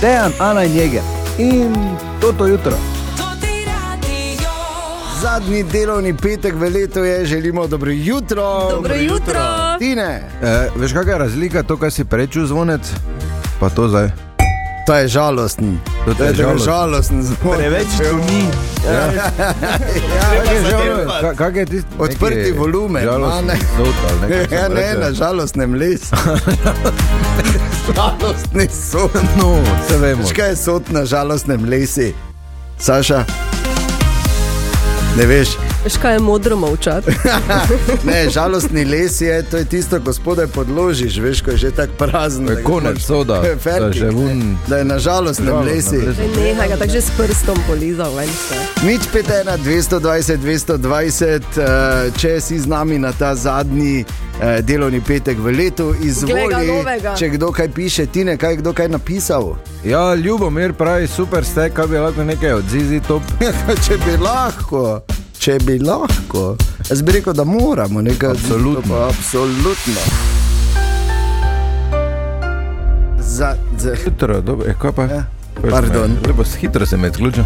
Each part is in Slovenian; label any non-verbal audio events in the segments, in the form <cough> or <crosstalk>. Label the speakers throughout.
Speaker 1: Dejan, Ana in Jeger in toto jutro.
Speaker 2: Zadnji delovni petek v letu je, želimo dobro jutro.
Speaker 3: Dobro jutro.
Speaker 2: Tine,
Speaker 1: E, veš, kakšna je razlika to, kar si prečil zvonec, pa to zdaj.
Speaker 2: to je žalosten.
Speaker 1: To
Speaker 2: To je
Speaker 1: žalostno.
Speaker 2: žalosten. zvon.
Speaker 4: ni.
Speaker 2: Ja, je žalosten.
Speaker 1: Ka- Kak je tisti?
Speaker 2: Odprti
Speaker 1: neki
Speaker 2: volumen,
Speaker 1: žalostni
Speaker 2: a ne.
Speaker 1: sod ali nekaj,
Speaker 2: <laughs> Ja,
Speaker 1: sem
Speaker 2: ne,
Speaker 1: rekel.
Speaker 2: na žalostnem
Speaker 1: <laughs>
Speaker 2: lesu. Žalostni so.
Speaker 1: No, se vemo.
Speaker 2: Veš, kaj je sod na žalostnem lesi? Saša? Ne veš?
Speaker 3: Veš, kaj je modro molčati?
Speaker 2: Ne, žalostni les je, to je tisto, ko spodaj podložiš, veš, ko je že tako prazen.
Speaker 1: Je
Speaker 2: da ga
Speaker 1: konec
Speaker 2: moraš-
Speaker 1: soda,
Speaker 2: je <laughs> fertik,
Speaker 1: da že vun-
Speaker 2: ne, Da je na žalostnem
Speaker 1: Žalostnem
Speaker 2: lesi.
Speaker 1: lesu.
Speaker 3: Daj, Nehaj ga tako že s prstom polizal ven. vse.
Speaker 2: Nič petena, 220, 220, eh, če si z nami na ta zadnji eh, delovni petek v letu,
Speaker 3: Glej ga
Speaker 2: izvoli,
Speaker 3: novega.
Speaker 2: če kdo kaj piše, ti ne, kaj je kdo kaj napisal. <laughs>
Speaker 1: Ja, ljubomir pravi, super ste, kaj bi lahko nekaj od zizi top.
Speaker 2: če bi lahko, če bi lahko. Jaz bi rekel, da moramo nekaj.
Speaker 1: Absolutno.
Speaker 2: To pa Absolutno. Za, za,
Speaker 1: Hitro, dobro, e, kaj pa? Ja.
Speaker 2: pardon.
Speaker 1: Lepo, s- hitro sem odključil.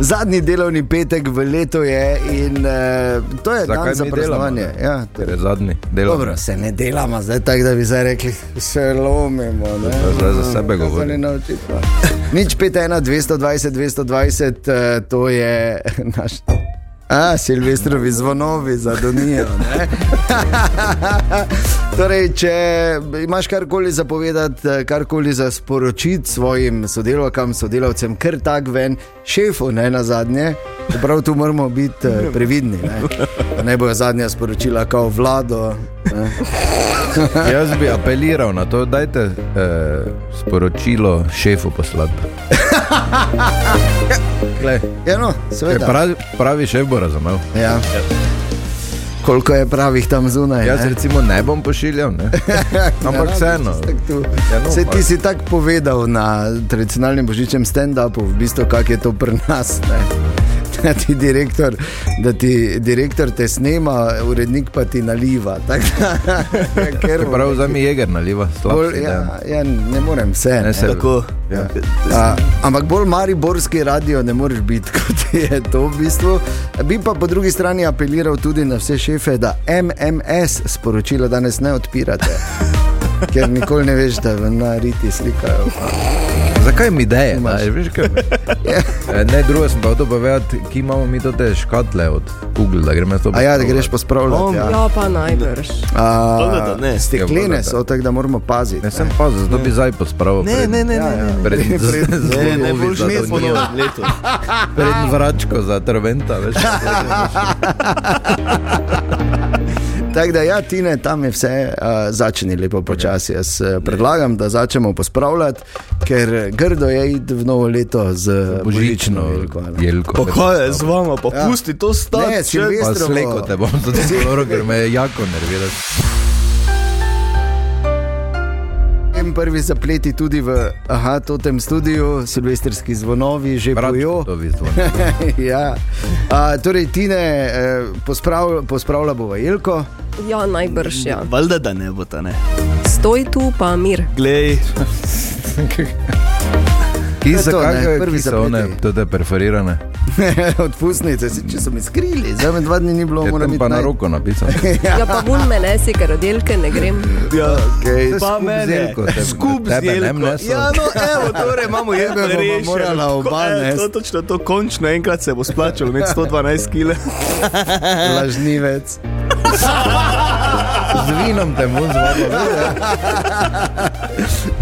Speaker 2: zadnji delovni petek v letu je in uh, to je <laughs> dan za praznovanje. Ja, to
Speaker 1: Ker
Speaker 2: je-
Speaker 1: je zadnji delo.
Speaker 2: Dobro, se ne delamo zdaj tako, da bi zdaj rekli, se lomimo. ne.
Speaker 1: To zdaj za sebe
Speaker 2: Kaj se
Speaker 1: govori.
Speaker 2: ne naučiti, no. <laughs> Nič 5, 1, 220, 220, eh, to je <laughs> naš. A, Silvestrovi zvonovi za Donijo. ne. <laughs> torej, če imaš karkoli zapovedati, eh, karkoli za sporočiti svojim sodelavkam, sodelavcem, ker tak ven, šefu, ne na zadnje, prav tu moramo biti eh, previdni. Ne, Da ne bojo zadnja sporočila, kao vlado. Ne.
Speaker 1: Jaz bi apeliral na to, dajte eh, sporočilo šefu poslati. Glej,
Speaker 2: Ja, no,
Speaker 1: ker
Speaker 2: seveda.
Speaker 1: pravi, pravi šef bo razumel.
Speaker 2: Ja. Koliko je pravih tam zunaj?
Speaker 1: Jaz
Speaker 2: ne?
Speaker 1: recimo ne bom pošiljal, ne? ampak
Speaker 2: Ne
Speaker 1: vseeno.
Speaker 2: rabiš tako tu.
Speaker 1: Ja, no,
Speaker 2: Saj
Speaker 1: pa-
Speaker 2: ti si tako povedal na tradicionalnem božičnem stand-upu, v bistvu, kako je to pri nas. Ne? <laughs> Da ti, direktor, da ti direktor te snema, urednik pa ti naliva. Tako da- <laughs> Ker
Speaker 1: Prav za mi jeger naliva, slabo.
Speaker 2: bolj, ja, ja, ne morem vse.
Speaker 1: Ne,
Speaker 2: Ne,
Speaker 1: se-
Speaker 4: Tako.
Speaker 1: Ja.
Speaker 2: A, ampak bolj mariborski radio ne moreš biti, <laughs> kot je to v bistvu. Bi pa po drugi strani apeliral tudi na vse šefe, da MMS sporočila danes ne odpirate. Ker nikoli ne veš, da v nariti slikajo.
Speaker 1: Zakaj mi ideje?
Speaker 2: Nimaš.
Speaker 1: daješ, veš, kaj me- Eh, Ne, drugo sem pa hotel povedati, ki imamo mi to te škatle od Google, da gremo to.
Speaker 2: A ja, da greš
Speaker 1: pospravljati.
Speaker 2: pospravljati. Ja.
Speaker 3: Ja, pa najbrž.
Speaker 4: Bolje, da
Speaker 2: A,
Speaker 4: ne.
Speaker 2: steklene so, tako da moramo paziti.
Speaker 1: Ne, sem pa zato bi zdaj pospravil.
Speaker 4: Ne,
Speaker 1: pred-
Speaker 4: ne, ne, ne, ne.
Speaker 1: Pred
Speaker 2: Pred-
Speaker 4: Ne, ne,
Speaker 1: zvonovi
Speaker 4: boš
Speaker 1: za
Speaker 4: ne po
Speaker 1: Donijo.
Speaker 4: novem letu.
Speaker 1: Pred vračko za trventa,
Speaker 2: <laughs>
Speaker 1: veš.
Speaker 2: Tako da, ja, Tine, tam je vse, uh, začni lepo počasi. Jaz eh, predlagam, da začnemo pospravljati, ker grdo je iti v novo leto z eh, božično
Speaker 1: Božično
Speaker 2: veliko.
Speaker 1: jelko.
Speaker 4: <laughs> Pa kaj je z vama, pa pusti to stati.
Speaker 2: Ne,
Speaker 4: če-
Speaker 2: Silvestr-
Speaker 1: Pa sleko te bom tudi zelo, ker me je jako nerviralo.
Speaker 2: En prvi zapleti tudi v aha, totem studiu, silvestrski zvonovi, že bojo.
Speaker 1: Vračkovi zvon.
Speaker 2: <laughs> ja. A, torej, Tine, eh, posprav, pospravlja bo Jelko. <laughs>
Speaker 3: Ja, najbrž, ja.
Speaker 4: Valjda, da ne bo ta ne.
Speaker 3: Stoj tu, pa mir.
Speaker 4: Glej, <laughs>
Speaker 1: Ki
Speaker 2: je
Speaker 1: so
Speaker 2: to, ne,
Speaker 1: kakšne,
Speaker 2: prvi
Speaker 1: ki so one,
Speaker 2: zapleti.
Speaker 1: tudi perforirane.
Speaker 2: Odpustnice, si- če so mi skrili, zdaj me dva dni ni bilo,
Speaker 1: Je
Speaker 2: moram
Speaker 1: Ja, tam
Speaker 2: biti
Speaker 1: pa na
Speaker 2: naj-
Speaker 1: roko
Speaker 2: <laughs>
Speaker 1: napisano.
Speaker 3: Ja, pa vun me nesi, ker oddelke ne grem.
Speaker 4: ja.
Speaker 2: Okej.
Speaker 4: Pa
Speaker 1: Skup z
Speaker 4: mene,
Speaker 1: jelko, te-
Speaker 4: skup z
Speaker 1: tebe ne
Speaker 4: jelko.
Speaker 1: mneso.
Speaker 4: Ja, no, evo, torej imamo jedno
Speaker 2: bomo
Speaker 4: rešeno.
Speaker 2: morala oba
Speaker 4: Ko- e,
Speaker 2: nesti.
Speaker 4: To točno, to končno enkrat se bo splačalo, imeti 112 kg.
Speaker 2: Lažnivec.
Speaker 1: Z vinom te bom zvonil.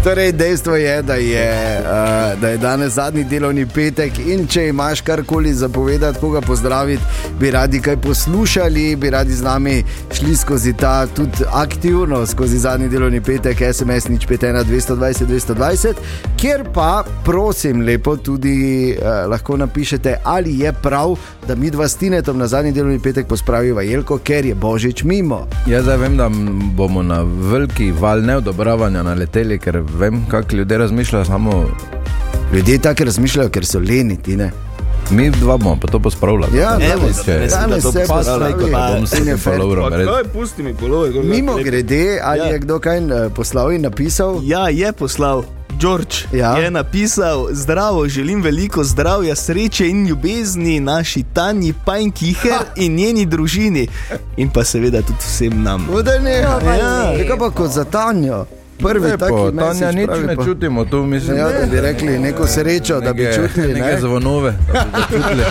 Speaker 2: Torej, dejstvo je, da je, uh, da je danes zadnji delovni petek in če imaš karkoli zapovedati, koga pozdraviti, bi radi kaj poslušali, bi radi z nami šli skozi ta tudi aktivno, skozi zadnji delovni petek, SMS nič 51 220 220, kjer pa prosim lepo tudi uh, lahko napišete, ali je prav, da mi dva s Tinetom na zadnji delovni petek pospraviva Jelko, ker je Božič mimo.
Speaker 1: Jaz zdaj vem, da m- bomo na veliki val neodobravanja naleteli, ker vem, kako ljudje razmišljajo, samo
Speaker 2: Ljudje tako razmišljajo, ker so leni, Tine.
Speaker 1: mi dva bomo pa to pospravljali.
Speaker 2: Ja,
Speaker 4: Evo,
Speaker 2: danes,
Speaker 1: da
Speaker 2: danes,
Speaker 1: mislim,
Speaker 4: da to
Speaker 2: se
Speaker 4: pa
Speaker 2: postavi.
Speaker 4: slejko,
Speaker 1: Da bom s
Speaker 2: Ja, In je
Speaker 1: tem
Speaker 2: fair.
Speaker 1: followrom red.
Speaker 4: pusti mi golove, gor.
Speaker 2: Mimo grede, ali
Speaker 4: Ja.
Speaker 2: je kdo kaj eh, poslal in napisal?
Speaker 4: Ja, je poslal George
Speaker 2: Ja.
Speaker 4: ja. je napisal: Zdravo, želim veliko zdravja, sreče in ljubezni naši Tanji <laughs> Pajnkiher in njeni družini, in pa seveda tudi vsem nam.
Speaker 2: Voda ne,
Speaker 3: Ja, pa lepo.
Speaker 2: ja, pa kot za Tanjo. Prvi
Speaker 1: Lepo,
Speaker 2: taki
Speaker 1: Tanja,
Speaker 2: message
Speaker 1: nič
Speaker 2: pravi
Speaker 1: ne
Speaker 2: pa-
Speaker 1: čutimo tu, mislim.
Speaker 2: Ja, da bi rekli neko srečo, da bi
Speaker 1: neke-
Speaker 2: čutili.
Speaker 1: neke
Speaker 2: Ne?
Speaker 1: zvonove. da bi
Speaker 2: <laughs>
Speaker 1: začutili.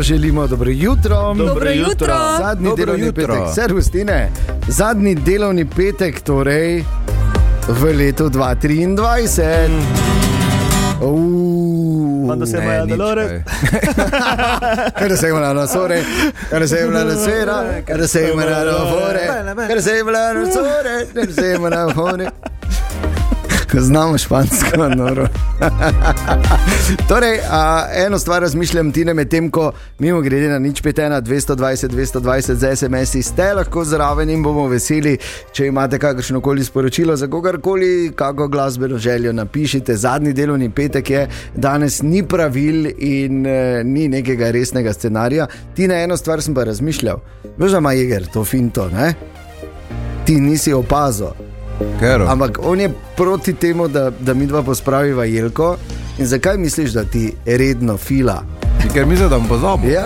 Speaker 2: Želimo dobro jutro.
Speaker 3: Dobro jutro. jutro.
Speaker 2: Zadnji
Speaker 1: Dobro
Speaker 2: delovni
Speaker 1: jutro.
Speaker 2: petek, servustine. Zadnji delovni petek, torej v letu 2023. Uuu,
Speaker 4: Pa no, da se
Speaker 1: Ne,
Speaker 4: maja
Speaker 1: nič,
Speaker 4: delore.
Speaker 1: kaj.
Speaker 2: Ker se jim na sore, ker se jim na sera, ker se jim na fore, ker se jim na sore, ker se jim na fore. Znamo špansko, noro. torej, a, eno stvar razmišljam, ti ne med tem, ko mimo grede na nič 5, 220, 220 za SMS, ste lahko zraven in bomo veseli, če imate kakršno koli sporočilo za kogarkoli, kako glasbeno željo napišite. Zadnji delovni petek je, danes ni pravil in eh, ni nekega resnega scenarija. Ti na eno stvar sem pa razmišljal, veš, da ima jeger to finto, ne? Ti nisi opazil.
Speaker 1: Kero.
Speaker 2: Ampak on je proti temu, da, da mi dva pospraviva Jelko. In zakaj misliš, da ti redno fila?
Speaker 1: Ker mislim, da bom pozabil.
Speaker 2: Ja,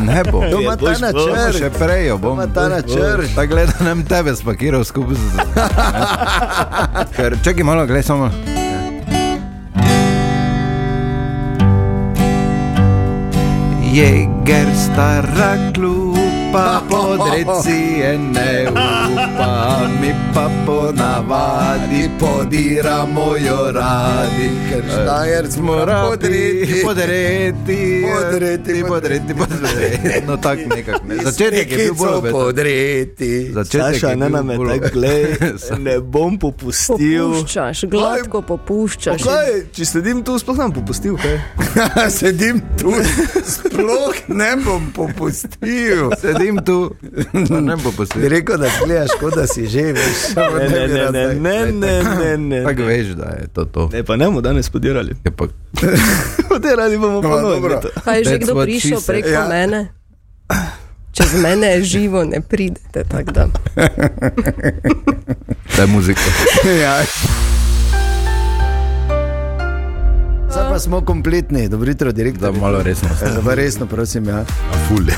Speaker 1: Ne bom.
Speaker 2: to ima ta
Speaker 4: boš-
Speaker 1: Bo Še
Speaker 2: načrt.
Speaker 1: prej jo bom.
Speaker 2: To ima ta načrt.
Speaker 1: Tako gledam, ne bom tebe spakiral skupaj z.
Speaker 2: <laughs>
Speaker 1: Ker čakaj malo, gledaj samo. Jeger stara klupa, podreci je ne upa, mi pa ponavadi podiramo jo radi, ker
Speaker 2: Štajer mora Eh. podreti.
Speaker 1: podreti,
Speaker 2: Podreti,
Speaker 1: podreti, podreti, podreti. No, tako nekako. Ne. Začetek je bil bolj obeten.
Speaker 2: podreti.
Speaker 1: Začetek
Speaker 4: Saša,
Speaker 1: je
Speaker 4: ne
Speaker 1: bil
Speaker 4: na me,
Speaker 1: bolj
Speaker 4: tako
Speaker 1: obeten. <laughs>
Speaker 4: glej, ne bom popustil.
Speaker 3: Popuščaš, gladko popuščaš.
Speaker 4: Kaj, če sledim tu, sploh ne bom popustil. Kaj?
Speaker 2: <laughs> Sedim tu, sploh ne bom popustil.
Speaker 1: Sedim tu, pa ne bo
Speaker 2: Bi
Speaker 1: posebej.
Speaker 2: rekel, da gledaš, kot da si že veš. samo
Speaker 4: Ne, ne,
Speaker 2: bi
Speaker 4: ne,
Speaker 2: rad
Speaker 4: ne,
Speaker 2: zdaj.
Speaker 4: ne, ne, ne, ne.
Speaker 1: Tako veš, da je to to.
Speaker 4: Ne, pa ne bomo danes podirali.
Speaker 1: Je pa
Speaker 4: Podirali bomo pa
Speaker 2: No, dobro.
Speaker 4: noč.
Speaker 3: Kaj je že
Speaker 1: That's
Speaker 3: kdo
Speaker 1: what she
Speaker 3: prišel
Speaker 1: said.
Speaker 3: preko
Speaker 2: Ja.
Speaker 3: ja. mene? Čez mene je živo, ne pridete. tako da.
Speaker 1: ta muzika.
Speaker 2: <laughs> Ja. Zdaj pa smo kompletni, dobro jutro, direktor.
Speaker 1: Da malo resno.
Speaker 2: Zdaj pa resno, prosim. Ja.
Speaker 5: Fulja.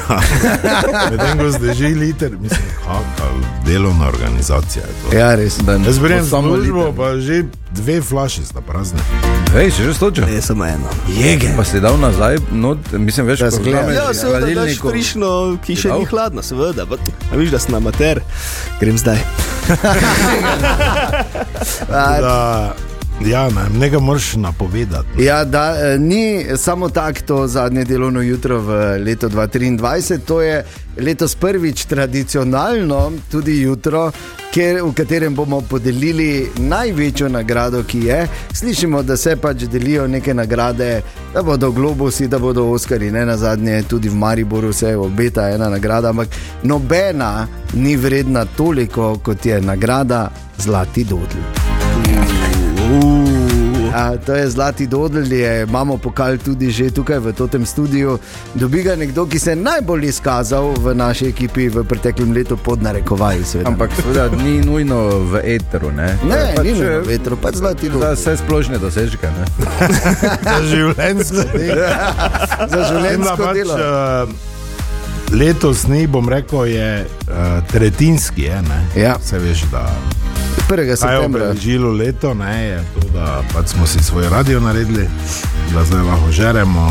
Speaker 5: Medtem ko zdrži liter, mislim, kakšna delovna organizacija je to.
Speaker 2: ja, res.
Speaker 1: Da ne
Speaker 5: Jaz grem
Speaker 1: bo
Speaker 5: samo
Speaker 1: liter.
Speaker 5: službo, pa že dve flaši sta prazne.
Speaker 1: Veš, že stočil.
Speaker 4: Ne, E, samo eno.
Speaker 1: Jege. Pa si dal nazaj, no, mislim, veš,
Speaker 2: Da
Speaker 1: ko
Speaker 2: si
Speaker 1: gledam.
Speaker 2: gledal.
Speaker 4: Ja, seveda, daš frišno, ki še
Speaker 1: Dal?
Speaker 4: ni hladno, seveda. Pa, a viš, da sem amater, grem zdaj.
Speaker 5: Da, ja, ne, nekaj moraš napovedati.
Speaker 2: <laughs> Ja, da, eh, ni samo tako to zadnje delovno jutro v letu 2023, to je letos prvič tradicionalno tudi jutro, kjer, v katerem bomo podelili največjo nagrado, ki je. Slišimo, da se pač delijo neke nagrade, da bodo globusi, da bodo Oskari, ne na zadnje, tudi v Mariboru se obeta ena nagrada, ampak nobena ni vredna toliko, kot je nagrada Zlati Dodl. Ja, to je zlati dodelj, je, imamo pokal tudi že tukaj v tem studiu. Dobi ga nekdo, ki se je najbolj izkazal v naši ekipi v preteklem letu, pod narekovaji. Seveda.
Speaker 1: Ampak seveda ni nujno v eteru, ne?
Speaker 2: Ne,
Speaker 1: To je eh,
Speaker 2: ni nujno v etru, pač zlati
Speaker 1: Za
Speaker 2: dodelj.
Speaker 1: vse splošne dosežke, ne?
Speaker 5: Za življenjsko delo.
Speaker 2: Za življenjsko
Speaker 5: Pač,
Speaker 2: delo.
Speaker 5: eh, Letos ni, bom rekel, je uh, tretjinski, je, ne?
Speaker 2: Ja.
Speaker 5: Se veš, da
Speaker 1: eh,
Speaker 2: 1.
Speaker 5: kaj je
Speaker 2: septembra.
Speaker 5: obeležilo leto, ne, je to, da pač smo si svoj radio naredili, da zdaj lahko žeremo,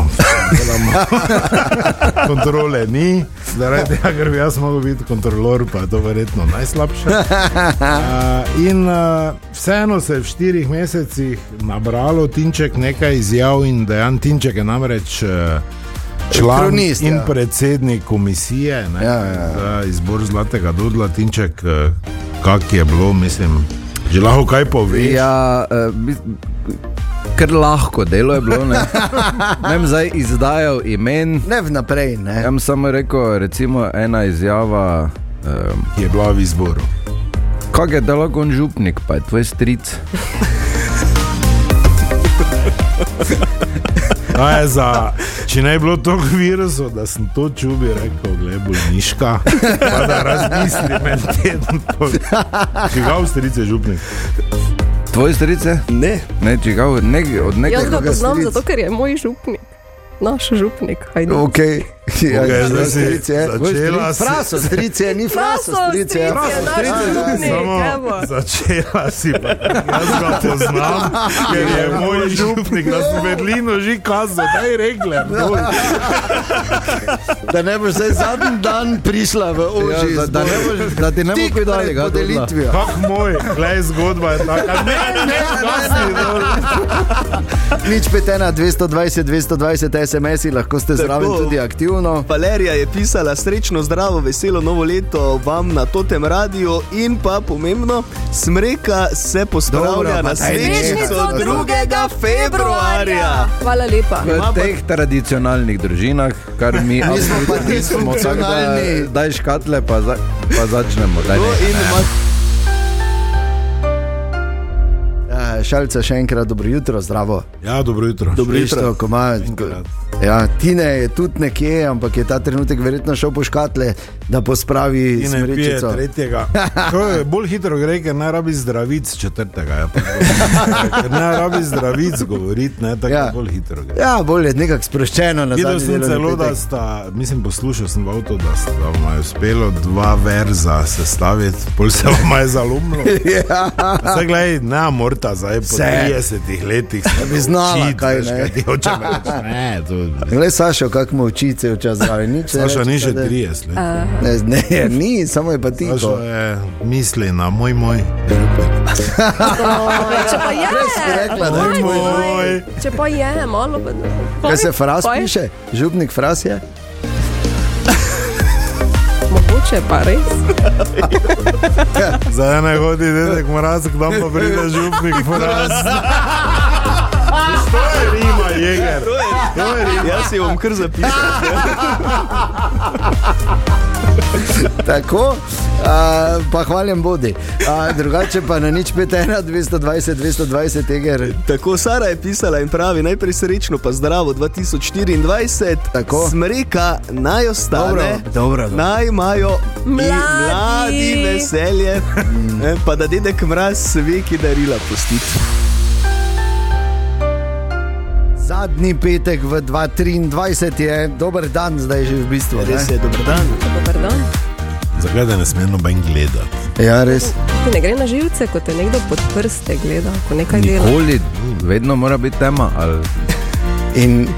Speaker 5: delamo.
Speaker 2: <laughs>
Speaker 5: Kontrole ni, zaradi tega, ker bi jaz mogel biti kontrolor, pa je to verjetno
Speaker 2: <laughs>
Speaker 5: najslabše. Uh, in uh, vseeno se je v štirih mesecih nabralo Tinček nekaj izjav in dejanj. Tinček je namreč uh, član
Speaker 2: Kronist,
Speaker 5: in
Speaker 2: ja.
Speaker 5: predsednik komisije ne,
Speaker 2: Ja, ja, ja.
Speaker 5: za Eh, izbor Zlatega Dudla. Tinček, uh, kak je bilo, mislim, že lahko kaj poveš.
Speaker 1: Ja, eh, bi- ker lahko delo je bilo,
Speaker 2: <laughs>
Speaker 1: ne? Ne bom zdaj izdajal imen.
Speaker 2: Ne vnaprej, ne.
Speaker 1: Jaz sem samo rekel, recimo ena izjava, um,
Speaker 5: ki Je bila v izboru.
Speaker 1: kak je dal on župnik, pa je tvoj stric.
Speaker 5: A je za, če ne bi bilo toliko virusov, da sem to čubi rekel, glej, bolniška, pa da razmislim en teden. Kaj avstrijce je župnik?
Speaker 1: Tvoje strice?
Speaker 4: Ne,
Speaker 1: Ne, čigav, od nek- od
Speaker 3: Jaz ga
Speaker 1: nekega.
Speaker 3: poznam
Speaker 2: stric.
Speaker 3: zato, ker je moj župnik. Naš župnik, hajde.
Speaker 2: Okay. Ja,
Speaker 5: Okej,
Speaker 2: ja,
Speaker 5: zdaj si
Speaker 2: stric je.
Speaker 5: začela si-
Speaker 2: Fraso, stric je, ni fraso, stric je.
Speaker 3: Fraso, stric je naš župnik, evo.
Speaker 5: začela si pa, jaz ga poznam, ker je moj župnik, da sem vedlino že kazal, daj regle. dol.
Speaker 2: Da ne boš zdaj zadnji dan prišla v oči.
Speaker 1: Ja, da- da ne boš- ja, da ti ne bo
Speaker 2: Tik
Speaker 1: kaj dali,
Speaker 2: pred
Speaker 1: ga, Dodla.
Speaker 2: podelitvijo.
Speaker 5: Kak moj, glej, zgodba je taka, ne, ne, gasi. dol.
Speaker 2: Nič petena, 220, 220 SMS-i, lahko ste zraven
Speaker 4: Tako.
Speaker 2: tudi aktivno.
Speaker 4: Valerija je pisala srečno, zdravo, veselo novo leto vam na totem radiju in pa pomembno, smreka se
Speaker 2: Dobro,
Speaker 4: postavlja
Speaker 2: pa
Speaker 4: na
Speaker 2: daj
Speaker 4: srečnico
Speaker 2: nehaj.
Speaker 4: 2. februarja.
Speaker 3: Hvala lepa.
Speaker 1: V teh tradicionalnih družinah, kar mi
Speaker 2: <laughs> Mi smo
Speaker 1: absolutno
Speaker 2: pa
Speaker 1: nismo, tako da
Speaker 2: disfunkcionalni.
Speaker 1: daj škatle, pa, za, pa začnemo. Daj,
Speaker 4: No,
Speaker 1: ne,
Speaker 4: in
Speaker 1: ne.
Speaker 4: ima
Speaker 2: Eh, Šalca še enkrat dobro jutro, zdravo.
Speaker 5: Ja, dobro jutro.
Speaker 4: Dobro jutro.
Speaker 2: Prišto, ko ima,
Speaker 5: Enkrat.
Speaker 2: ja, Tine je tudi nekje, ampak je ta trenutek verjetno šel po škatle, da pospravi
Speaker 5: In ne pije
Speaker 2: smrečico.
Speaker 5: tretjega. To je bolj hitro gre, ker ne rabi zdravic četrtega. Je, pa to. ker ne rabi zdravic govoriti, ne tako
Speaker 2: Ja.
Speaker 5: ja. bolj hitro gre.
Speaker 2: Ja, bolje nekako sproščeno na
Speaker 5: Videl sem celo, da
Speaker 2: zadnji.
Speaker 5: sta, mislim, poslušal sem v avtu, da sta vam je uspelo dva verza sestaviti, pol se vam je
Speaker 2: <laughs>
Speaker 5: zalumno.
Speaker 2: Ja.
Speaker 5: Zdaj, gledaj, ne morta zdaj po
Speaker 2: Se.
Speaker 5: 30 letih. Da
Speaker 2: bi znala, kaj ne.
Speaker 5: Kaj ti hočem
Speaker 2: <laughs>
Speaker 5: reči? Ne, to...
Speaker 2: Glej, Sašo, kako moči cel čas zraven. Nič ne
Speaker 5: Saša
Speaker 2: reče,
Speaker 5: ni že
Speaker 2: da-
Speaker 5: 30 let.
Speaker 2: Ne, ne, ni, samo je pa ti.
Speaker 5: Saša je misli na moj moj.
Speaker 3: Če pa je,
Speaker 2: rekla, da-
Speaker 3: Moj,
Speaker 5: Moj,
Speaker 3: moj.
Speaker 5: moj.
Speaker 3: Če pa je, malo pa ne.
Speaker 2: Kaj se fras
Speaker 3: Pa je-
Speaker 2: piše? Župnik fras je?
Speaker 3: Mogoče pa res.
Speaker 5: Zdaj ne hodi, dedek mrazek, tam pa pride župnik <laughs> mraz. To je rima, jeger. To je rima.
Speaker 4: Jaz si jo bom kar zapisal.
Speaker 2: Tako, a, pa hvaljen bodi. A, drugače pa na nič 5, 220, 220 teger.
Speaker 4: Tako Sara je pisala in pravi, najprej srečno, pa zdravo 2024.
Speaker 2: Tako.
Speaker 4: Smreka naj ostane,
Speaker 2: Dobro, dobro, dobro.
Speaker 4: naj imajo i
Speaker 3: Mladi.
Speaker 4: mladi veselje,
Speaker 2: Mm.
Speaker 4: Eh, pa da dedek mraz ve, ki darila postiti.
Speaker 2: Zadnji petek v 2.23 je dober dan, zdaj že v bistvu. ne?
Speaker 4: Res je, dober dan.
Speaker 3: Dobar dan.
Speaker 5: Zakaj da ne smem noben gledati?
Speaker 2: Ja, res.
Speaker 3: Ti ne gre na živce, ko te nekdo pod prste gleda, ko nekaj dela.
Speaker 1: Nikoli, vedno mora biti tema. Ali...
Speaker 2: In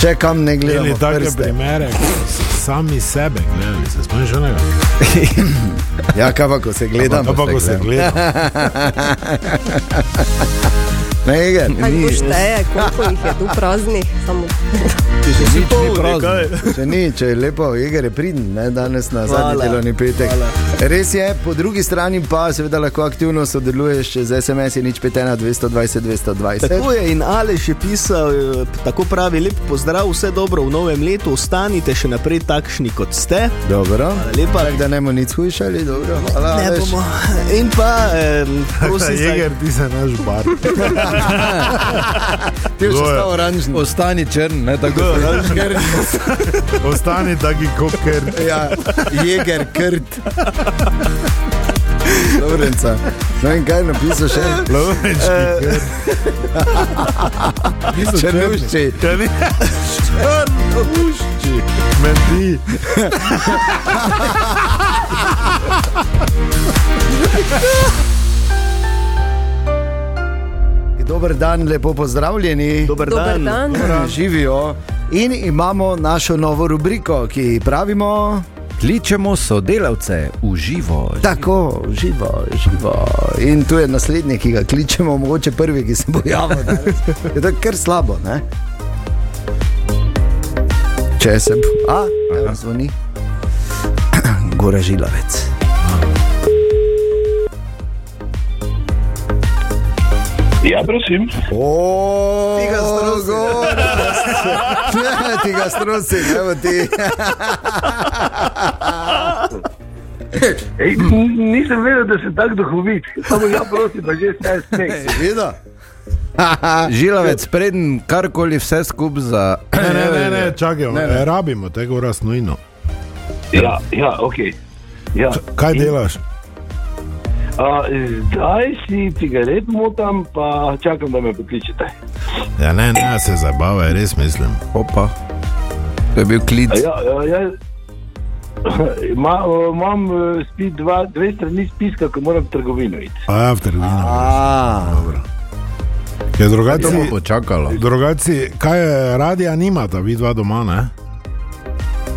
Speaker 2: če kam ne gledamo,
Speaker 5: Imeli take
Speaker 2: prste.
Speaker 5: primere, ko so sami sebe gledali, se spomniš onega?
Speaker 2: Ja, kaj pa, ko se
Speaker 5: Ampak
Speaker 2: gledamo.
Speaker 5: pa ko se <laughs> gleda,
Speaker 2: Ne, Iger.
Speaker 3: Kaj boš teje, koliko jih je tu praznih, samo
Speaker 4: Če si poln,
Speaker 1: prazno.
Speaker 4: kaj?
Speaker 2: Če ni, če je lepo, Igor je pridn, ne danes na
Speaker 4: Hvala.
Speaker 2: zadnji delovni petek.
Speaker 4: Hvala.
Speaker 2: Res je, po drugi strani pa seveda lahko aktivno sodeluješ še z SMS-i nič 5, 220, 220.
Speaker 4: Tako je in Aleš je pisal, eh, tako pravi, lep pozdrav, vse dobro v novem letu, ostanite še naprej takšni, kot ste.
Speaker 2: Dobro.
Speaker 4: Hvala lepa.
Speaker 2: Tako da ne bomo nič hujšali, dobro. Hvala,
Speaker 4: Ne
Speaker 2: Aleš.
Speaker 4: bomo. In pa, eh,
Speaker 5: da
Speaker 2: <laughs>
Speaker 4: prosim,
Speaker 5: jeger,
Speaker 4: za-
Speaker 5: ti se naš bar.
Speaker 2: Ti boš
Speaker 5: Kdo je?
Speaker 2: ostal oranžen.
Speaker 1: Ostani črn, ne tako kot
Speaker 5: Ostani taki koker.
Speaker 2: Ja, Jeger, krt. Dobrenca. No in kaj je napisal še?
Speaker 5: Lovečki.
Speaker 2: Črnušči.
Speaker 5: Črnušči. Menti.
Speaker 2: Dober dan, lepo pozdravljeni.
Speaker 4: dober
Speaker 3: dober
Speaker 4: dan.
Speaker 3: dan.
Speaker 2: Živijo. In imamo našo novo rubriko, ki ji pravimo.
Speaker 1: Kličemo sodelavce v živo.
Speaker 2: Tako, živo, živo. In tu je naslednji, ki ga kličemo, mogoče prvi, ki se bo javil. danes. Je to kar slabo, ne? Če se bo. A, evo, zvoni. <clears throat> Gora Žilavec.
Speaker 6: Ja, prosim.
Speaker 2: O, ti ga strosi. ti ga strosi, evo ti.
Speaker 6: Ej, n- nisem vedel, da sem tako duhovit. Samo ja, prosim, pa že ste smeh.
Speaker 2: Vido?
Speaker 1: Žilavec, preden karkoli vse skupaj za.
Speaker 5: Ne, ne, ne, ne čakaj, ne, ne. rabimo tega ura nujno.
Speaker 6: <laughs> Ja, ja, ok. Ja.
Speaker 5: Kaj delaš?
Speaker 6: A, zdaj si cigaret motam, pa čakam, da me pokličete.
Speaker 5: Ja, ne, ne, se zabavaj, res mislim.
Speaker 1: <coughs> Opa. To je bil klic.
Speaker 6: A Ja, ja, ja. Ma, o, imam eh, spit dva, dve strani spiska, ko moram v trgovino iti.
Speaker 5: A ja, v trgovini.
Speaker 2: A,
Speaker 5: Ja, drugače,
Speaker 1: To bo počakalo.
Speaker 5: drugače, kaj je radia nimata, vi dva doma, ne?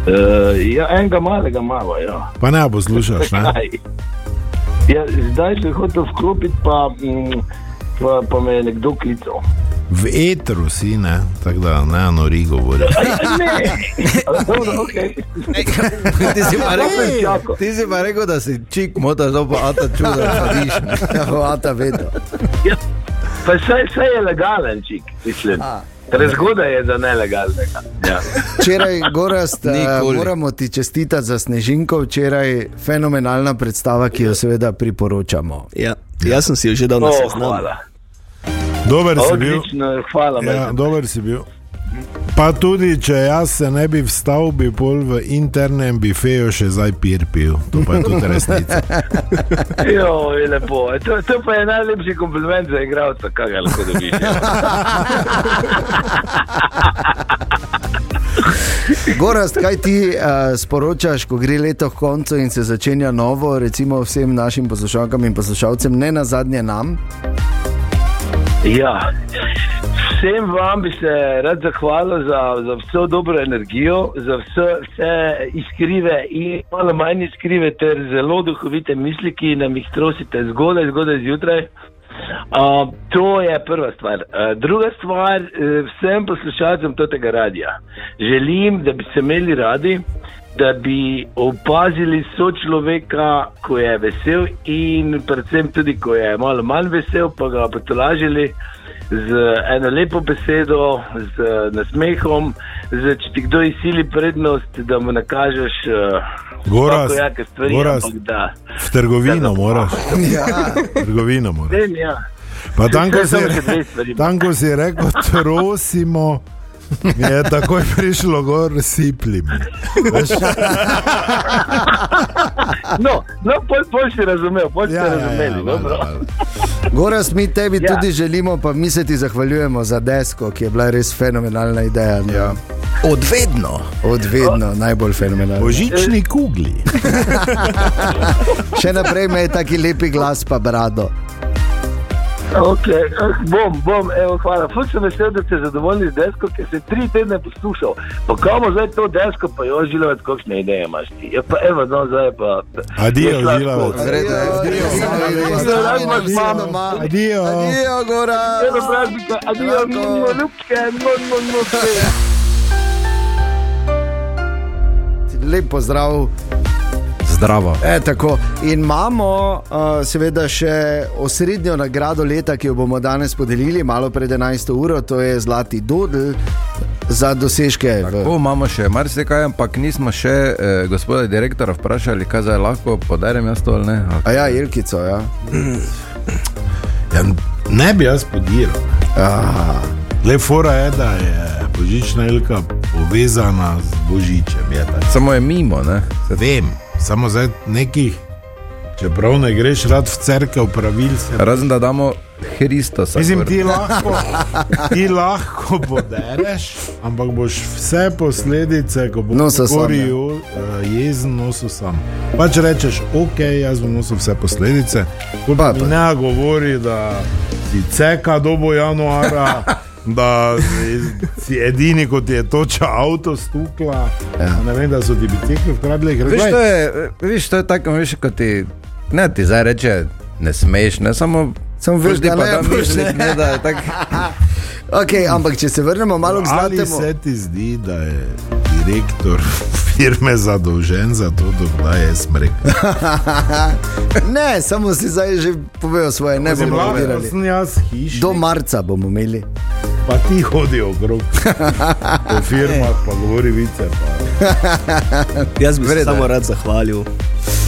Speaker 6: Uh, ja, enega malega mava, ja.
Speaker 5: Pa ne poslušaš, ne?
Speaker 6: Aj. ja zdaj sem hotel vklopiti, pa, mm, pa, pa me je nekdo <laughs> klical.
Speaker 5: V etru si, ne? Tako da ne, nori govori.
Speaker 6: Ja, ne, A, dobro, ok.
Speaker 1: Ti si pa
Speaker 6: Ej.
Speaker 1: rekel, ti si pa rekel da si čik, motaš to pa ata čuda, sadiš. <laughs>
Speaker 2: ja, vata vedo.
Speaker 6: Ja. Pa saj, saj je legalen čik, mislim. Prezgodaj je za nelegalnega. Ja.
Speaker 2: Včeraj, Gorast, eh,
Speaker 1: Nikoli.
Speaker 2: moramo ti čestitati za snežinko, včeraj fenomenalna predstava, ki jo seveda priporočamo.
Speaker 4: Ja, jaz sem si jo že dal na
Speaker 6: O,
Speaker 4: seznam.
Speaker 6: No, Oh, hvala.
Speaker 5: Dober si bil.
Speaker 6: Odlično, hvala.
Speaker 5: Ja,
Speaker 6: Ja,
Speaker 5: dober si bil. Pa tudi, če jaz se ne bi vstal, bi pol v internem bifeju še zdaj pir pil. To pa je tudi resnica.
Speaker 6: jo, je lepo. E, To, to pa je najlepši kompliment za igralca, kaj ga lahko dobiš. ja.
Speaker 2: Gorast, kaj ti uh, sporočaš, ko gre leto k koncu in se začenja novo, recimo vsem našim poslušalkam in poslušalcem, ne na zadnje nam?
Speaker 6: Ja. Vsem vam bi se rad zahvalil za, za vso dobro energijo, za vse, vse iskrive in malo manj iskrive ter zelo duhovite misli, ki nam jih trosite zgodaj, zgodaj zjutraj. Uh, to je prva stvar. Uh, druga stvar, uh, vsem poslušalcem tega radia. Želim, da bi se imeli radi, da bi opazili sočloveka, ko je vesel in predvsem tudi, ko je malo manj vesel, pa ga potolažili z eno lepo besedo, z nasmehom, z, če ti kdo izsili prednost, da mu nakažeš uh,
Speaker 5: Goraz,
Speaker 6: vsakojake stvari,
Speaker 5: Goraz.
Speaker 6: ampak da.
Speaker 5: V trgovino moraš.
Speaker 2: Ja.
Speaker 5: V trgovino moraš.
Speaker 6: Vem, ja.
Speaker 5: Pa tam, ko si,
Speaker 6: Samo še dve stvari.
Speaker 5: tam, eh, ko si rekel, trosimo. mi Je takoj prišlo gor, siplim.
Speaker 6: No, no pol, pol si razumel, pol si ja, razumeli. Ja, ja,
Speaker 5: valjda, valjda.
Speaker 2: Gorast, mi tebi ja.
Speaker 6: Ja.
Speaker 2: tudi želimo, pa mi se ti zahvaljujemo za desko, ki je bila res fenomenalna ideja. Ja.
Speaker 1: Odvedno.
Speaker 2: Odvedno, najbolj fenomenalna.
Speaker 5: Božični kugli.
Speaker 2: Še naprej me je taki lepi glas, pa brado.
Speaker 6: Okay, eh, bom, bom, evo, hvala. Fuk sem vesel, da ste zadovoljni z desko, ki sem tri tedne poslušal. Pa kamo zdaj to desko, pa jo žilovec, kakšne ideje imaš ti. Ja, pa evo, no, zdaj pa.
Speaker 5: Adijo,
Speaker 6: Je sladko.
Speaker 5: žilavec. Adijo.
Speaker 2: Adijo, Gorast.
Speaker 6: Evo, praznika, adijo,
Speaker 2: Zdravko.
Speaker 6: mimo, ljubke, mon, mon, mon, vse.
Speaker 2: Lep pozdrav.
Speaker 1: Zdravo.
Speaker 2: E, tako. In imamo uh, seveda še osrednjo nagrado leta, ki jo bomo danes podelili, malo pred 11. uro, to je Zlati Dudl za dosežke. v-
Speaker 1: Tako imamo še marsikaj, ampak nismo še eh, gospoda direktora vprašali, kaj zdaj lahko podarjam jaz to ali ne.
Speaker 2: A ja, Jelkico, ja.
Speaker 5: Ja, ne bi jaz podiral. Le fora je, da je božična jelka povezana z božičem. Je, tako.
Speaker 1: Samo je mimo, ne?
Speaker 5: Vem, samo zdaj nekih, čeprav ne greš rad v cerkev, pravil se.
Speaker 1: Razen da damo Hristosa.
Speaker 5: Mislim,
Speaker 1: gor.
Speaker 5: ti lahko,
Speaker 2: <laughs>
Speaker 5: ti lahko podereš, ampak boš vse posledice, ko boš
Speaker 2: Nosil sam, ja.
Speaker 5: koril, uh, jezen nosil sam. Pač rečeš, ok, jaz bom nosil vse posledice.
Speaker 2: Pa, pa.
Speaker 5: Ne govori, da si ceka dobo
Speaker 2: <laughs>
Speaker 5: januara. Da si- si edini, kot je toča avto stukla. Ja. Ne vem, da so ti bicikli ukradli. ker
Speaker 1: Veš,
Speaker 5: glej,
Speaker 1: to je, eh, veš, to je tako, veš, kot ti, ne ti zdaj reče, ne smeš, ne samo. Sam
Speaker 2: veš, da
Speaker 1: pa
Speaker 2: ne
Speaker 1: da
Speaker 2: boš,
Speaker 1: mišljik, ne, da je tako.
Speaker 2: Okay, ampak če se vrnemo malo k
Speaker 5: Ali
Speaker 2: zlatemu.
Speaker 5: se ti zdi, da je direktor firme zadolžen za to, da je <laughs> smrek?
Speaker 2: Ne, samo si zdaj že povedal svoje, ne bomo delali.
Speaker 5: sem jaz hiš,
Speaker 2: Do marca bomo imeli.
Speaker 5: pa ti hodi <laughs> okrog po firmah, pa govori vice. Pa.
Speaker 4: Jaz bi se samo rad zahvalil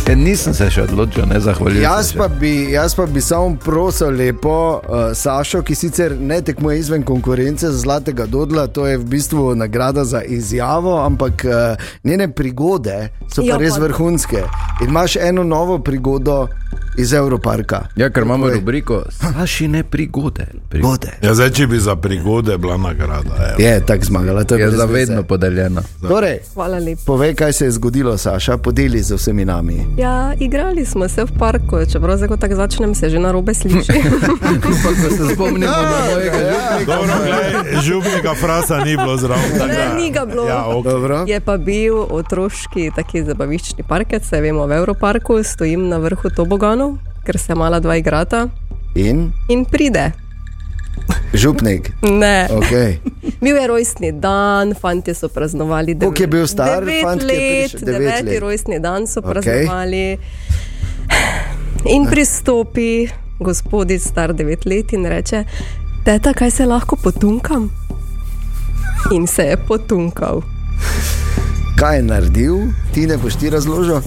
Speaker 1: Ja, nisem se še odločil, ne zahvaljujem.
Speaker 2: Jaz
Speaker 1: se
Speaker 2: pa,
Speaker 1: še.
Speaker 2: bi, jaz pa bi samo prosil lepo uh, Sašo, ki sicer ne tekmuje izven konkurence za Zlatega Dodla, to je v bistvu nagrada za izjavo, ampak uh, njene prigode so pa
Speaker 3: Ja,
Speaker 2: res
Speaker 3: pa-
Speaker 2: vrhunske. In imaš eno novo prigodo iz Evroparka.
Speaker 1: Ja, ker imamo
Speaker 2: Tako je.
Speaker 1: rubriko Sašine prigode. prigode.
Speaker 2: Prigode.
Speaker 5: Ja, zdaj, če bi za prigode bila nagrada.
Speaker 3: Ja.
Speaker 5: evo.
Speaker 2: Je tako zmagala, to je
Speaker 1: Je
Speaker 2: brez
Speaker 1: zavedno
Speaker 2: veze.
Speaker 1: podeljena.
Speaker 2: Torej,
Speaker 3: Hvala lepa.
Speaker 2: povej, kaj se je zgodilo, Saša, podeli z vsemi nami.
Speaker 3: Ja, igrali smo se v parku, čeprav zdaj, ko tako začnem, se že na robe
Speaker 2: <laughs>
Speaker 3: sliši.
Speaker 1: Ampak ko se <laughs> spomnimo na mojega ljubljega.
Speaker 5: Dobro, glej, župnika frasa ni bilo zraven. tako da-
Speaker 3: Ne, ni ga bilo.
Speaker 5: Ja, ok.
Speaker 2: Dobro.
Speaker 3: Je pa bil otroški taki zabaviščni parkec, se vemo v Evroparku, stojim na vrhu toboganov, ker se mala dva igrata
Speaker 2: In
Speaker 3: in pride.
Speaker 2: župnik.
Speaker 3: Ne.
Speaker 2: Okay.
Speaker 3: Bil je rojstni dan, fanti so praznovali devet-
Speaker 2: Koliko je bil star
Speaker 3: devet
Speaker 2: fant, ki je
Speaker 3: let,
Speaker 2: prišel? Devet
Speaker 3: deveti
Speaker 2: let.
Speaker 3: rojstni dan so
Speaker 2: Okej. Eh.
Speaker 3: praznovali. In pristopi gospodič star devet let in reče: Teta, kaj se lahko potunkam? In se je potunkal.
Speaker 2: Kaj je naredil, ti ne boš ti razložil?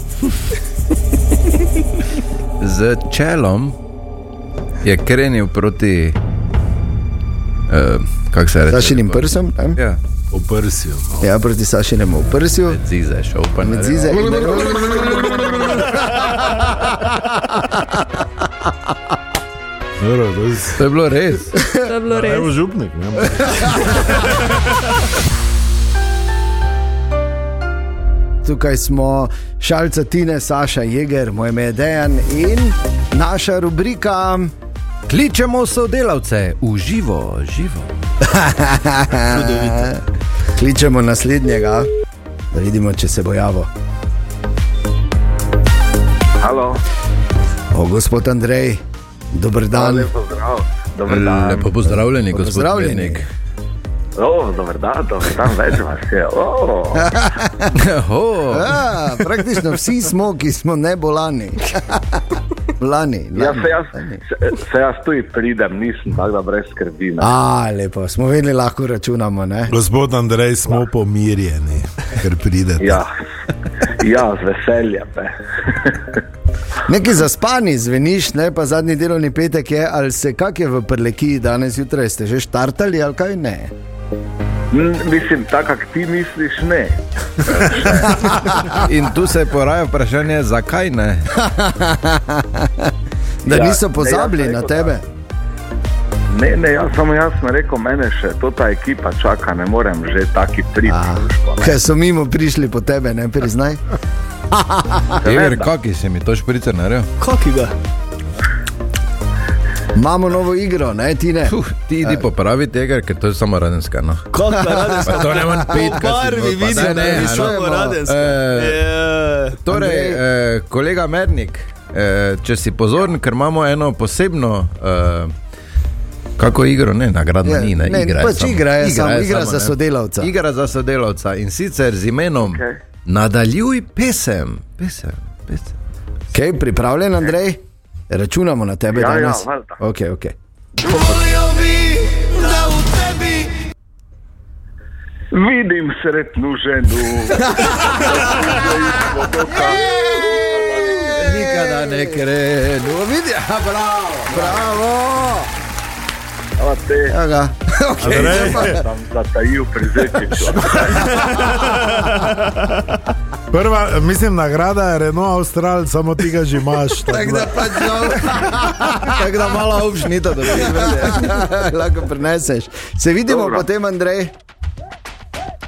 Speaker 1: Z čelom je krenil proti. Eh, Kako se reče?
Speaker 2: Sašinim prsom, tam?
Speaker 1: Ja,
Speaker 5: Oprsil. No.
Speaker 2: ja, proti Sašinemu prsju.
Speaker 1: zize je šel, pa ne.
Speaker 2: Med zize in
Speaker 5: Dobro, to je-
Speaker 1: To je bilo res.
Speaker 3: To je bilo
Speaker 2: Ja,
Speaker 3: res.
Speaker 5: Evo župnik. Ne?
Speaker 2: Tukaj smo šalca Tine, Saša Jeger, moj ime je Dejan in naša rubrika.
Speaker 1: Kličemo sodelavce v živo, živo.
Speaker 2: Kličemo naslednjega, da vidimo, če se bo javil.
Speaker 7: Halo,
Speaker 2: O, gospod Andrej, dober dan.
Speaker 7: lepo zdrav. Dober dan.
Speaker 1: Lepo pozdravljeni, gospod
Speaker 2: Pozdravljeni.
Speaker 1: Zdravljenik. <laughs>
Speaker 7: O, dober dan, dober dan, več vas je. O,
Speaker 2: Ja, praktično vsi smo, ki smo ne bolani. <laughs> Lani,
Speaker 7: ja,
Speaker 2: lani.
Speaker 7: se jaz, se, se jaz tu pridem, nisem tako da brez skrbi. ne.
Speaker 2: A, lepo, smo vedeli, lahko računamo. Ne?
Speaker 5: Gospod Andrej, smo pomirjeni, ker pridete.
Speaker 7: Ja, ja z veseljem. ne.
Speaker 2: Nekaj zaspani zveniš, ne pa zadnji delovni petek je, ali se kak je v preleki danes zjutraj, ste že štartali ali kaj ne.
Speaker 7: N- Mm, Mislim, tako kak ti misliš, ne.
Speaker 1: In tu se poraja vprašanje, zakaj ne?
Speaker 2: Da ja,
Speaker 7: Ja,
Speaker 2: niso
Speaker 7: ne,
Speaker 2: pozabili
Speaker 7: jaz sem
Speaker 2: ne, na
Speaker 7: rekel,
Speaker 2: tebe.
Speaker 7: Ne, ne, jaz samo jaz sem rekel, mene še to ta ekipa čaka, ne morem že taki priti. v
Speaker 2: A,
Speaker 7: družbo, ne.
Speaker 2: Ker so mimo prišli po tebe, ne priznaj.
Speaker 1: Ever, kaki si mi to špricer naredil?
Speaker 4: Kaki ga?
Speaker 2: Imamo novo igro, ne ti ne.
Speaker 1: Puh, ti idi popravi tega, ker to je samo radenska. No.
Speaker 4: Kaki ga?
Speaker 1: Eh. Pa to ne morem piti,
Speaker 4: Po barvi vidim, da je
Speaker 2: ne,
Speaker 1: no.
Speaker 2: ne.
Speaker 4: visoko raden.
Speaker 1: Eh. Torej, eh, kolega Mernik, eh, če si pozoren, ker imamo eno posebno. Eh, Kako igro, ne, nagradno
Speaker 2: Ja,
Speaker 1: ni, ne,
Speaker 2: ne,
Speaker 1: igra. je
Speaker 2: pač
Speaker 1: samo.
Speaker 2: igra je samo, igra za
Speaker 1: ne.
Speaker 2: sodelavca.
Speaker 1: Igra za sodelavca in sicer z imenom okay.
Speaker 7: Okej.
Speaker 1: Nadaljuj pesem. pesem, pesem.
Speaker 2: Kaj, pripravljen, Andrej? Računamo na tebe
Speaker 7: Ja, ja,
Speaker 2: danes.
Speaker 7: valjda.
Speaker 2: okay, okay.
Speaker 7: Vidim sretnu ženu.
Speaker 1: Nikada ne gre, no vidiš, <laughs> bravo.
Speaker 2: Bravo!
Speaker 7: Hvala
Speaker 2: <laughs>
Speaker 7: te,
Speaker 2: Ja, ga. okay, zdaj pa-
Speaker 7: da sem zatajil pri zetiču.
Speaker 5: Prva, mislim, nagrada je Renault Austral, samo ti ga že <laughs> imaš. tako
Speaker 2: Tako
Speaker 5: da-
Speaker 2: da pač žal. Tako da malo obšnita, da ti ja. <laughs> lahko prineseš. Se vidimo
Speaker 7: Dobro.
Speaker 2: potem, Andrej.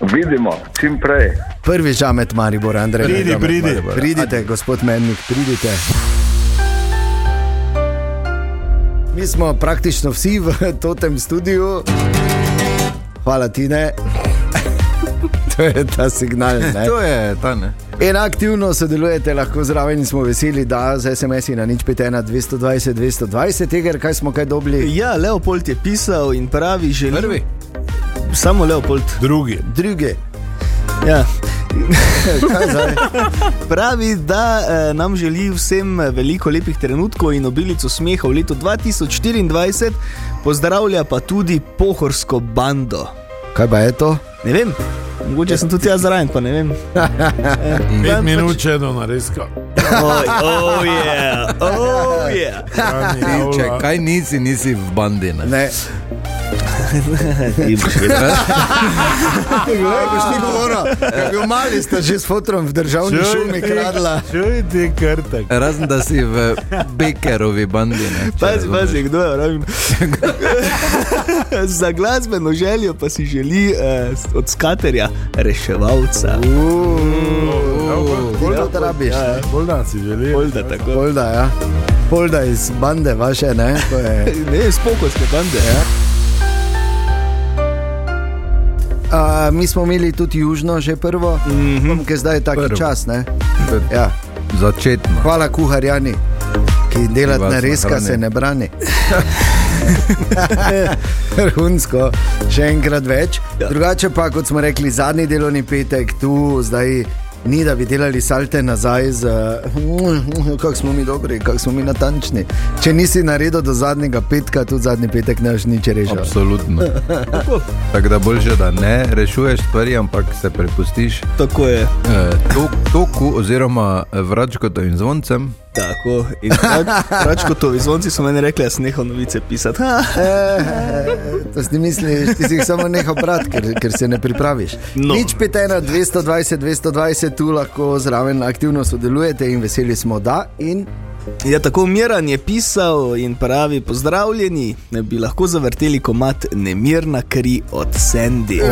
Speaker 7: Vidimo, čim prej.
Speaker 2: Prvi žamet Maribor, Andrej.
Speaker 5: Pridi,
Speaker 2: Žamet
Speaker 5: pridi.
Speaker 2: Maribora. Pridite, gospod Mennik, pridite. Mi smo praktično vsi v tem studiu. Hvala ti, ne. To je ta signal. Ne?
Speaker 1: To je ta ne.
Speaker 2: In aktivno sodelujete, lahko zraven in smo veseli, da z SMS-i na nič 51, 220, 220, tega, kaj smo kaj dobili.
Speaker 4: Ja, Leopold je pisal in pravi, že
Speaker 1: Prvi.
Speaker 4: Samo Leopold.
Speaker 5: Drugi.
Speaker 2: Druge,
Speaker 4: Ja.
Speaker 2: kaj zdaj?
Speaker 4: Pravi, da eh, nam želi vsem veliko lepih trenutkov in obilico smeha v letu 2024, pozdravlja pa tudi pohorsko bando.
Speaker 2: Kaj pa je to?
Speaker 4: Ne vem, Mogoče sem tudi jaz zraven, pa ne vem.
Speaker 5: Pet minut če do <laughs> nareska.
Speaker 4: Oj, oh, yeah, oh, yeah.
Speaker 5: Kranji,
Speaker 1: Če
Speaker 5: avla.
Speaker 1: kaj nisi, nisi v bandi. Ne?
Speaker 4: <laughs>
Speaker 2: Ne,
Speaker 4: Ti boš vedel.
Speaker 2: ne boš ti govoril, da bi mali ste že s fotom v državni
Speaker 5: Čuj,
Speaker 2: šumi
Speaker 5: ti-
Speaker 2: kradla.
Speaker 5: Čuj ti krtek.
Speaker 1: Razen da si v Bekerovi bandi. Ne, če
Speaker 4: Pazi,
Speaker 1: razumeš.
Speaker 4: pazi, kdo je raven. Za glasbeno željo pa si želi eh, od skaterja reševalca.
Speaker 2: Koliko da rabiš?
Speaker 4: Ja,
Speaker 5: Boldan si želi.
Speaker 4: Polda tako.
Speaker 2: Polda, ja. Polda iz bande vaše, ne? To je.
Speaker 4: Ne, spokoljske bande. Ja.
Speaker 2: A, mi smo imeli tudi južno, že prvo, mm -hmm. ki zdaj je taki prvo.
Speaker 1: Prvo.
Speaker 2: čas. Ne?
Speaker 1: To je
Speaker 2: Ja.
Speaker 1: Začetno.
Speaker 2: Hvala kuharjani, ki delati
Speaker 1: vas
Speaker 2: na reska
Speaker 1: nahrani.
Speaker 2: se ne brani. Vrhunsko, še enkrat več.
Speaker 4: Ja.
Speaker 2: Drugače pa, kot smo rekli, zadnji delovni petek tu zdaj. Ni da bi delali salte nazaj, z, <laughs> uh, kako smo mi dobri, kako smo mi natančni. Če nisi naredil do zadnjega petka, tudi zadnji petek ne boš nič rešil.
Speaker 1: Absolutno. Tako da boljše, da ne rešuješ stvari, ampak se prepustiš eh,
Speaker 4: Tako je.
Speaker 1: tok- toku oziroma eh, vračkotovim zvoncem.
Speaker 4: Tako. In pač kot to, izvonci so meni rekli, da sem nehal novice pisati. Ha,
Speaker 2: Eh, To si misliš, ti si jih samo nehal brati, ker, ker se ne pripraviš. No.
Speaker 4: No.
Speaker 2: Nič petena, 220, 220, tu lahko zraven aktivno sodelujete in veseli smo, da. In
Speaker 4: Ja, tako Miran je pisal in pravi: Pozdravljeni, ne bi lahko zavrteli komat Nemirna kri od Sandy.
Speaker 1: E,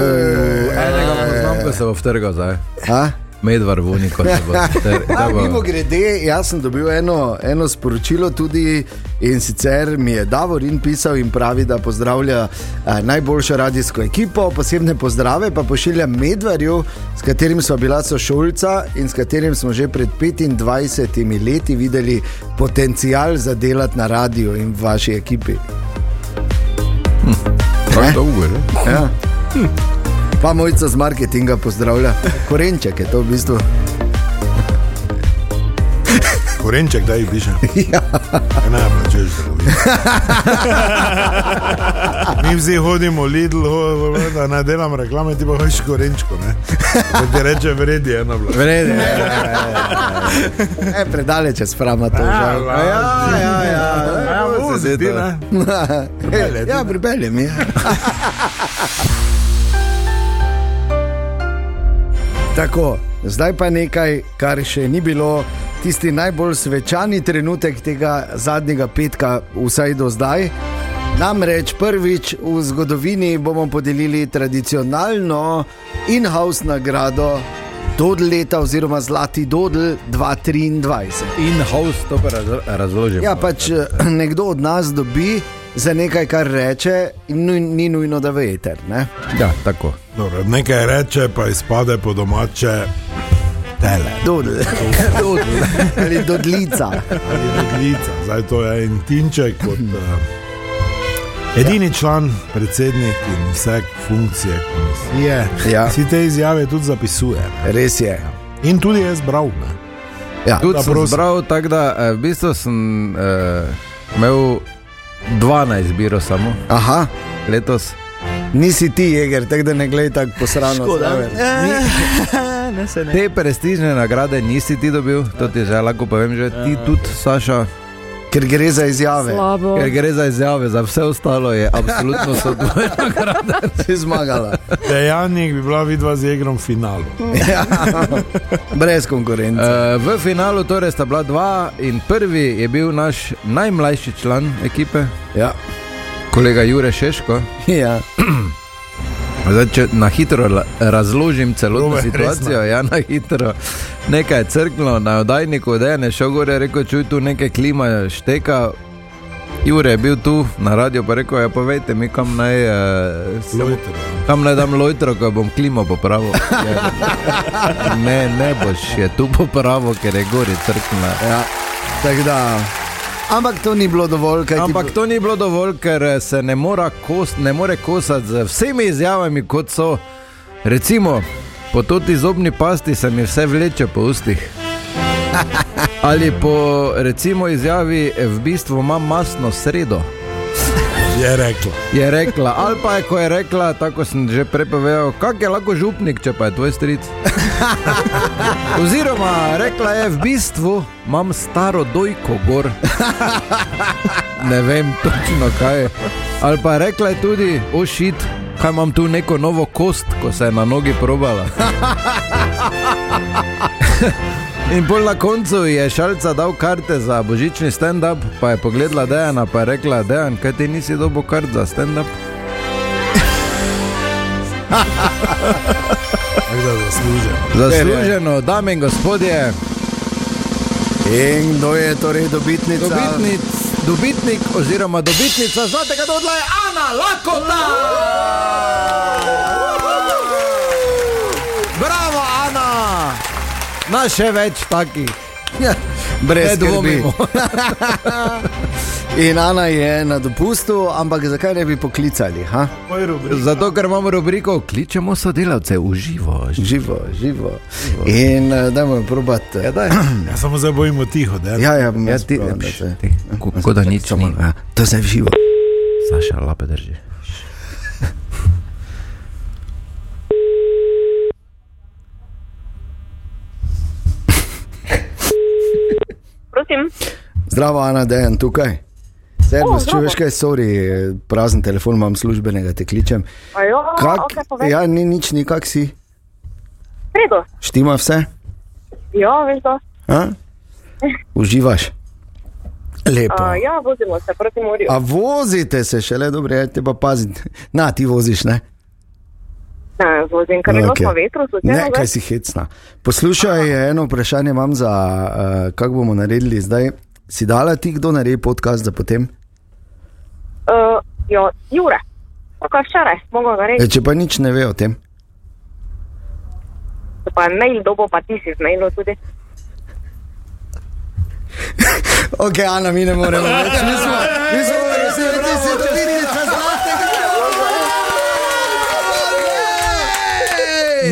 Speaker 1: Enega poznam, ko se bo vtrgal zdaj.
Speaker 2: a?
Speaker 1: Medvar vuni, ko se bo
Speaker 2: <laughs> A, mimo
Speaker 1: vtrgal.
Speaker 2: grede, jaz sem dobil eno, eno sporočilo tudi in sicer mi je Davorin pisal in pravi, da pozdravlja eh, najboljšo radijsko ekipo, posebne pozdrave pa pošilja Medvarju, s katerim smo bila sošolca in s katerim smo že pred 25 leti videli potencial za delati na radiju in v vaši ekipi.
Speaker 1: Tako dolgo je.
Speaker 2: Ja. Pa mojica z marketinga pozdravlja, korenček je to v bistvu.
Speaker 5: Korenček, daj piše. <laughs> Ja. Ne, plačuješ <laughs> trgovino. Mi vsi hodimo, Lidl, ho- ho- da ne delam reklame, ti pa hočeš korenčko. Ne? Da ti reče, vredi ena bila.
Speaker 1: Vrede.
Speaker 2: E, predaleč je sprama to, žal.
Speaker 5: Ja, ja, ja. ja, vozi ti, <laughs> ne.
Speaker 2: Pripelje, ja, pripelje mi. Tako, zdaj pa nekaj, kar še ni bilo, tisti najbolj svečani trenutek tega zadnjega petka, vsaj do zdaj. Namreč prvič v zgodovini bomo podelili tradicionalno in-house nagrado Dodl leta oziroma Zlati Dodl 2023.
Speaker 1: In house to pa razlo- razložim.
Speaker 2: Ja, pač eh, nekdo od nas dobi za nekaj, kar reče, in nu, ni nujno, da ve eter. Ne?
Speaker 1: Ja, tako.
Speaker 5: Dobro, nekaj reče, pa izpade po domače. Tele.
Speaker 2: Dodl. Dodl. Ali dodlica.
Speaker 5: ali Meglica. Zdaj to je en tinček kot uh, edini član, predsednik in vse funkcije komisije.
Speaker 2: Ja.
Speaker 5: Vsi te izjave tudi zapisujem.
Speaker 2: Res je.
Speaker 5: In tudi jaz bral. Ne?
Speaker 2: Ja.
Speaker 1: Tudi
Speaker 5: Da,
Speaker 1: sem
Speaker 5: prosim.
Speaker 1: zbral, tako da eh, v bistvu sem eh, imel 12 izbiro samo
Speaker 2: Aha,
Speaker 1: letos.
Speaker 2: nisi ti, jeger, tako da ne gledaj tako posrano.
Speaker 4: Škoda.
Speaker 2: zraven.
Speaker 4: Eh, Ne, se ne.
Speaker 1: Te prestižne nagrade nisi ti dobil, to ti že lahko povem, že ti tudi, Saša.
Speaker 2: Ker gre za izjave,
Speaker 3: Slabo.
Speaker 1: Ker gre za izjave, za vse ostalo je <laughs> absolutno sodobno.
Speaker 2: si <laughs> zmagala.
Speaker 5: Dejannik bi bila vidva z igrom v finalu.
Speaker 2: Ja. Brez konkurence.
Speaker 1: V finalu torej sta bila dva in prvi je bil naš najmlajši član ekipe,
Speaker 2: Ja.
Speaker 1: kolega Jure Šeško.
Speaker 2: Ja.
Speaker 1: Zdaj, če na hitro la- razložim celotno
Speaker 5: Robe,
Speaker 1: situacijo, ja, na hitro. Nekaj je crklo na oddajniku, da je ne šel gore, rekel, čuj tu nekaj klima, šteka. Jure je bil tu na radiju, pa rekel, ja, povejte mi, kam naj, eh, se-
Speaker 5: Lojtro.
Speaker 1: kam naj dam lojtro, ko bom klimo popravil. Ja. Ne, ne boš, je tu popravil, ker je gori crkna.
Speaker 2: Ja. Tako da. Ampak to ni bilo dovolj, kaj
Speaker 1: Ampak to ni bilo dovolj, ker eh, se ne, mora kost, ne more kosati z vsemi izjavami, kot so. Recimo, po toti zobni pasti se mi vse vleče po ustih. <laughs> Ali po recimo izjavi, eh, v bistvu imam masno sredo.
Speaker 5: je rekla.
Speaker 1: je rekla. Ali pa je, ko je rekla, tako sem že prepovedal, kak je lahko župnik, če pa je tvoj stric. <laughs> Oziroma, rekla je v bistvu, imam staro dojko gor. <laughs> Ne vem točno kaj je. Ali pa je rekla je tudi, ošit, kaj imam tu neko novo kost, ko se je na nogi probala. <laughs> In bolj na koncu je šalica dal karte za božični stand-up, pa je pogledala Dejana in rekla: Dejan, kaj ti nisi dobil kart za stand-up?
Speaker 5: Tako da zasluženo.
Speaker 1: Zasluženo, dame in gospodje,
Speaker 2: In kdo je torej dobitnica?
Speaker 1: dobitnic, dobitnik oziroma dobitnica zlatega dodla je Ana Lakota! Bravo, Ana! Na še več takih,
Speaker 2: Ja,
Speaker 1: ne
Speaker 2: brez skrbi.
Speaker 1: dvomimo.
Speaker 2: In Ana je na dopustu, ampak zakaj ne bi poklicali? Ha?
Speaker 1: Zato, ker imamo rubriko, kličemo sodelavce v živo.
Speaker 2: Živo, živo. In eh, dajmo probati. Ja, daj.
Speaker 5: Ja, samo zdaj bojimo tiho,
Speaker 2: <clears throat>
Speaker 5: da
Speaker 2: ja, ja, bom
Speaker 1: Ja,
Speaker 2: jaz
Speaker 1: ti
Speaker 2: probal,
Speaker 1: ne
Speaker 2: da
Speaker 1: piš.
Speaker 2: se-
Speaker 1: Ti, ko- Kot da nič
Speaker 2: Samo,
Speaker 1: ni.
Speaker 2: ja, to zdaj v živo.
Speaker 1: Saša, lape drži.
Speaker 8: Prosim,
Speaker 2: Zdravo, Ana, da je tukaj.
Speaker 8: O,
Speaker 2: Servis, če
Speaker 8: zdravo.
Speaker 2: veš kaj, sorry, prazen telefon imam službenega, te kličem.
Speaker 8: ajo,
Speaker 2: Kak,
Speaker 8: okay, povej. Ja.
Speaker 2: ja, ni nič, nikak si.
Speaker 8: Redo,
Speaker 2: Štima vse?
Speaker 8: ja, veš, da. <laughs>
Speaker 2: A? Uživaš? Lepo.
Speaker 8: Uh, ja, vozimo se proti morju.
Speaker 2: A vozite se šele, dobro, ja, te pa paziti. Na, ti voziš, ne?
Speaker 8: Ne, vozim, ker je okay. na vetru,
Speaker 2: Ne,
Speaker 8: slučajno.
Speaker 2: kaj
Speaker 8: Ne,
Speaker 2: si hecna. Poslušaj, eno vprašanje imam za, uh, kako bomo naredili zdaj. Si dala ti, kdo naredi podcast za potem?
Speaker 8: uh, ja, Jure, tako včeraj, mogo ga reči,
Speaker 2: E, če pa nič ne ve o tem. Eh.
Speaker 8: pa mail dobo, pa ti si zmailo tudi.
Speaker 2: Ok, Ana, mi ne moremo več. Mi smo, mi smo, mi smo, mi smo, mi smo.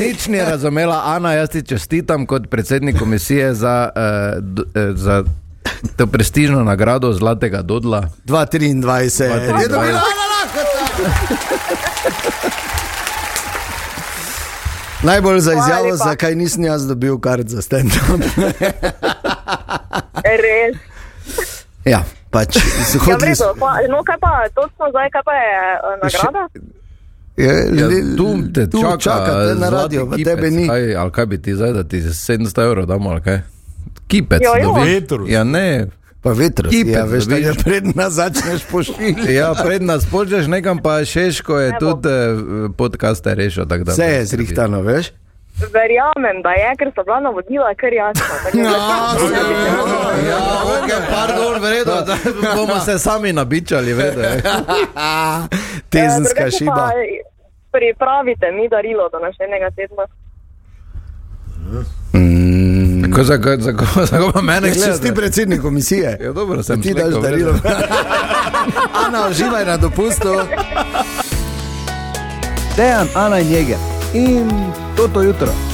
Speaker 1: Nič ni razumela, Ana, jaz ti čestitam kot predsednik komisije za, uh, d, uh, za to prestižno nagrado Zlatega Dodla.
Speaker 2: 2,23. Je dobila Ana Lakota. Najbolj za izjavo,
Speaker 8: lepa.
Speaker 2: zakaj nisem jaz dobil kart za stand-up. <laughs>
Speaker 8: Res.
Speaker 2: Ja, pač.
Speaker 8: Ja, v
Speaker 2: zhodili
Speaker 8: redu,
Speaker 2: smo-
Speaker 8: pa, no kaj pa, točno zdaj, kaj pa je uh, nagrada?
Speaker 2: Ja,
Speaker 1: Ja,
Speaker 2: le-
Speaker 1: tu te
Speaker 2: tu
Speaker 1: čaka,
Speaker 2: čaka te na
Speaker 1: zlati
Speaker 2: radio, pa
Speaker 1: kipec.
Speaker 2: tebe ni.
Speaker 1: Kaj, ali kaj bi ti zdaj, da ti 700 evrov damo, ali kaj? Kipec.
Speaker 8: Ja, ja.
Speaker 1: dobi.
Speaker 5: Vetrus.
Speaker 1: Ja, ne.
Speaker 2: Pa vetro,
Speaker 1: Kipec
Speaker 2: ja, veš, da
Speaker 1: dobiš.
Speaker 2: je predna
Speaker 1: <laughs>
Speaker 2: začneš pošiljati.
Speaker 1: Ja, pred nas počneš nekam, pa Šeško je
Speaker 8: bo.
Speaker 1: tudi eh, podcaste rešil. tako da
Speaker 2: Vse je
Speaker 1: brez skrbi.
Speaker 2: zrihtano, veš?
Speaker 8: Verjamem, da je, ker so bila navodila, ker jasno. tako
Speaker 2: <laughs> No,
Speaker 8: da-
Speaker 1: Ja, ok, pardon, vredno, da bomo se sami nabičali, vredno.
Speaker 2: <laughs>
Speaker 8: Eh,
Speaker 2: Tezenska
Speaker 8: drugače
Speaker 2: šiba.
Speaker 8: pa eh, Pripravite mi darilo do naslednjega tedna.
Speaker 2: Mm.
Speaker 1: Tako za, ko- za, ko- za ko pa mene
Speaker 2: Ja, Če si ti
Speaker 1: gledaš.
Speaker 2: predsednik komisije,
Speaker 1: Ja, dobro, sem
Speaker 2: ti daš
Speaker 1: slekel,
Speaker 2: darilo. <laughs> Ana, uživaj na dopustu. Dejan, Ana in Jeger. In toto jutro.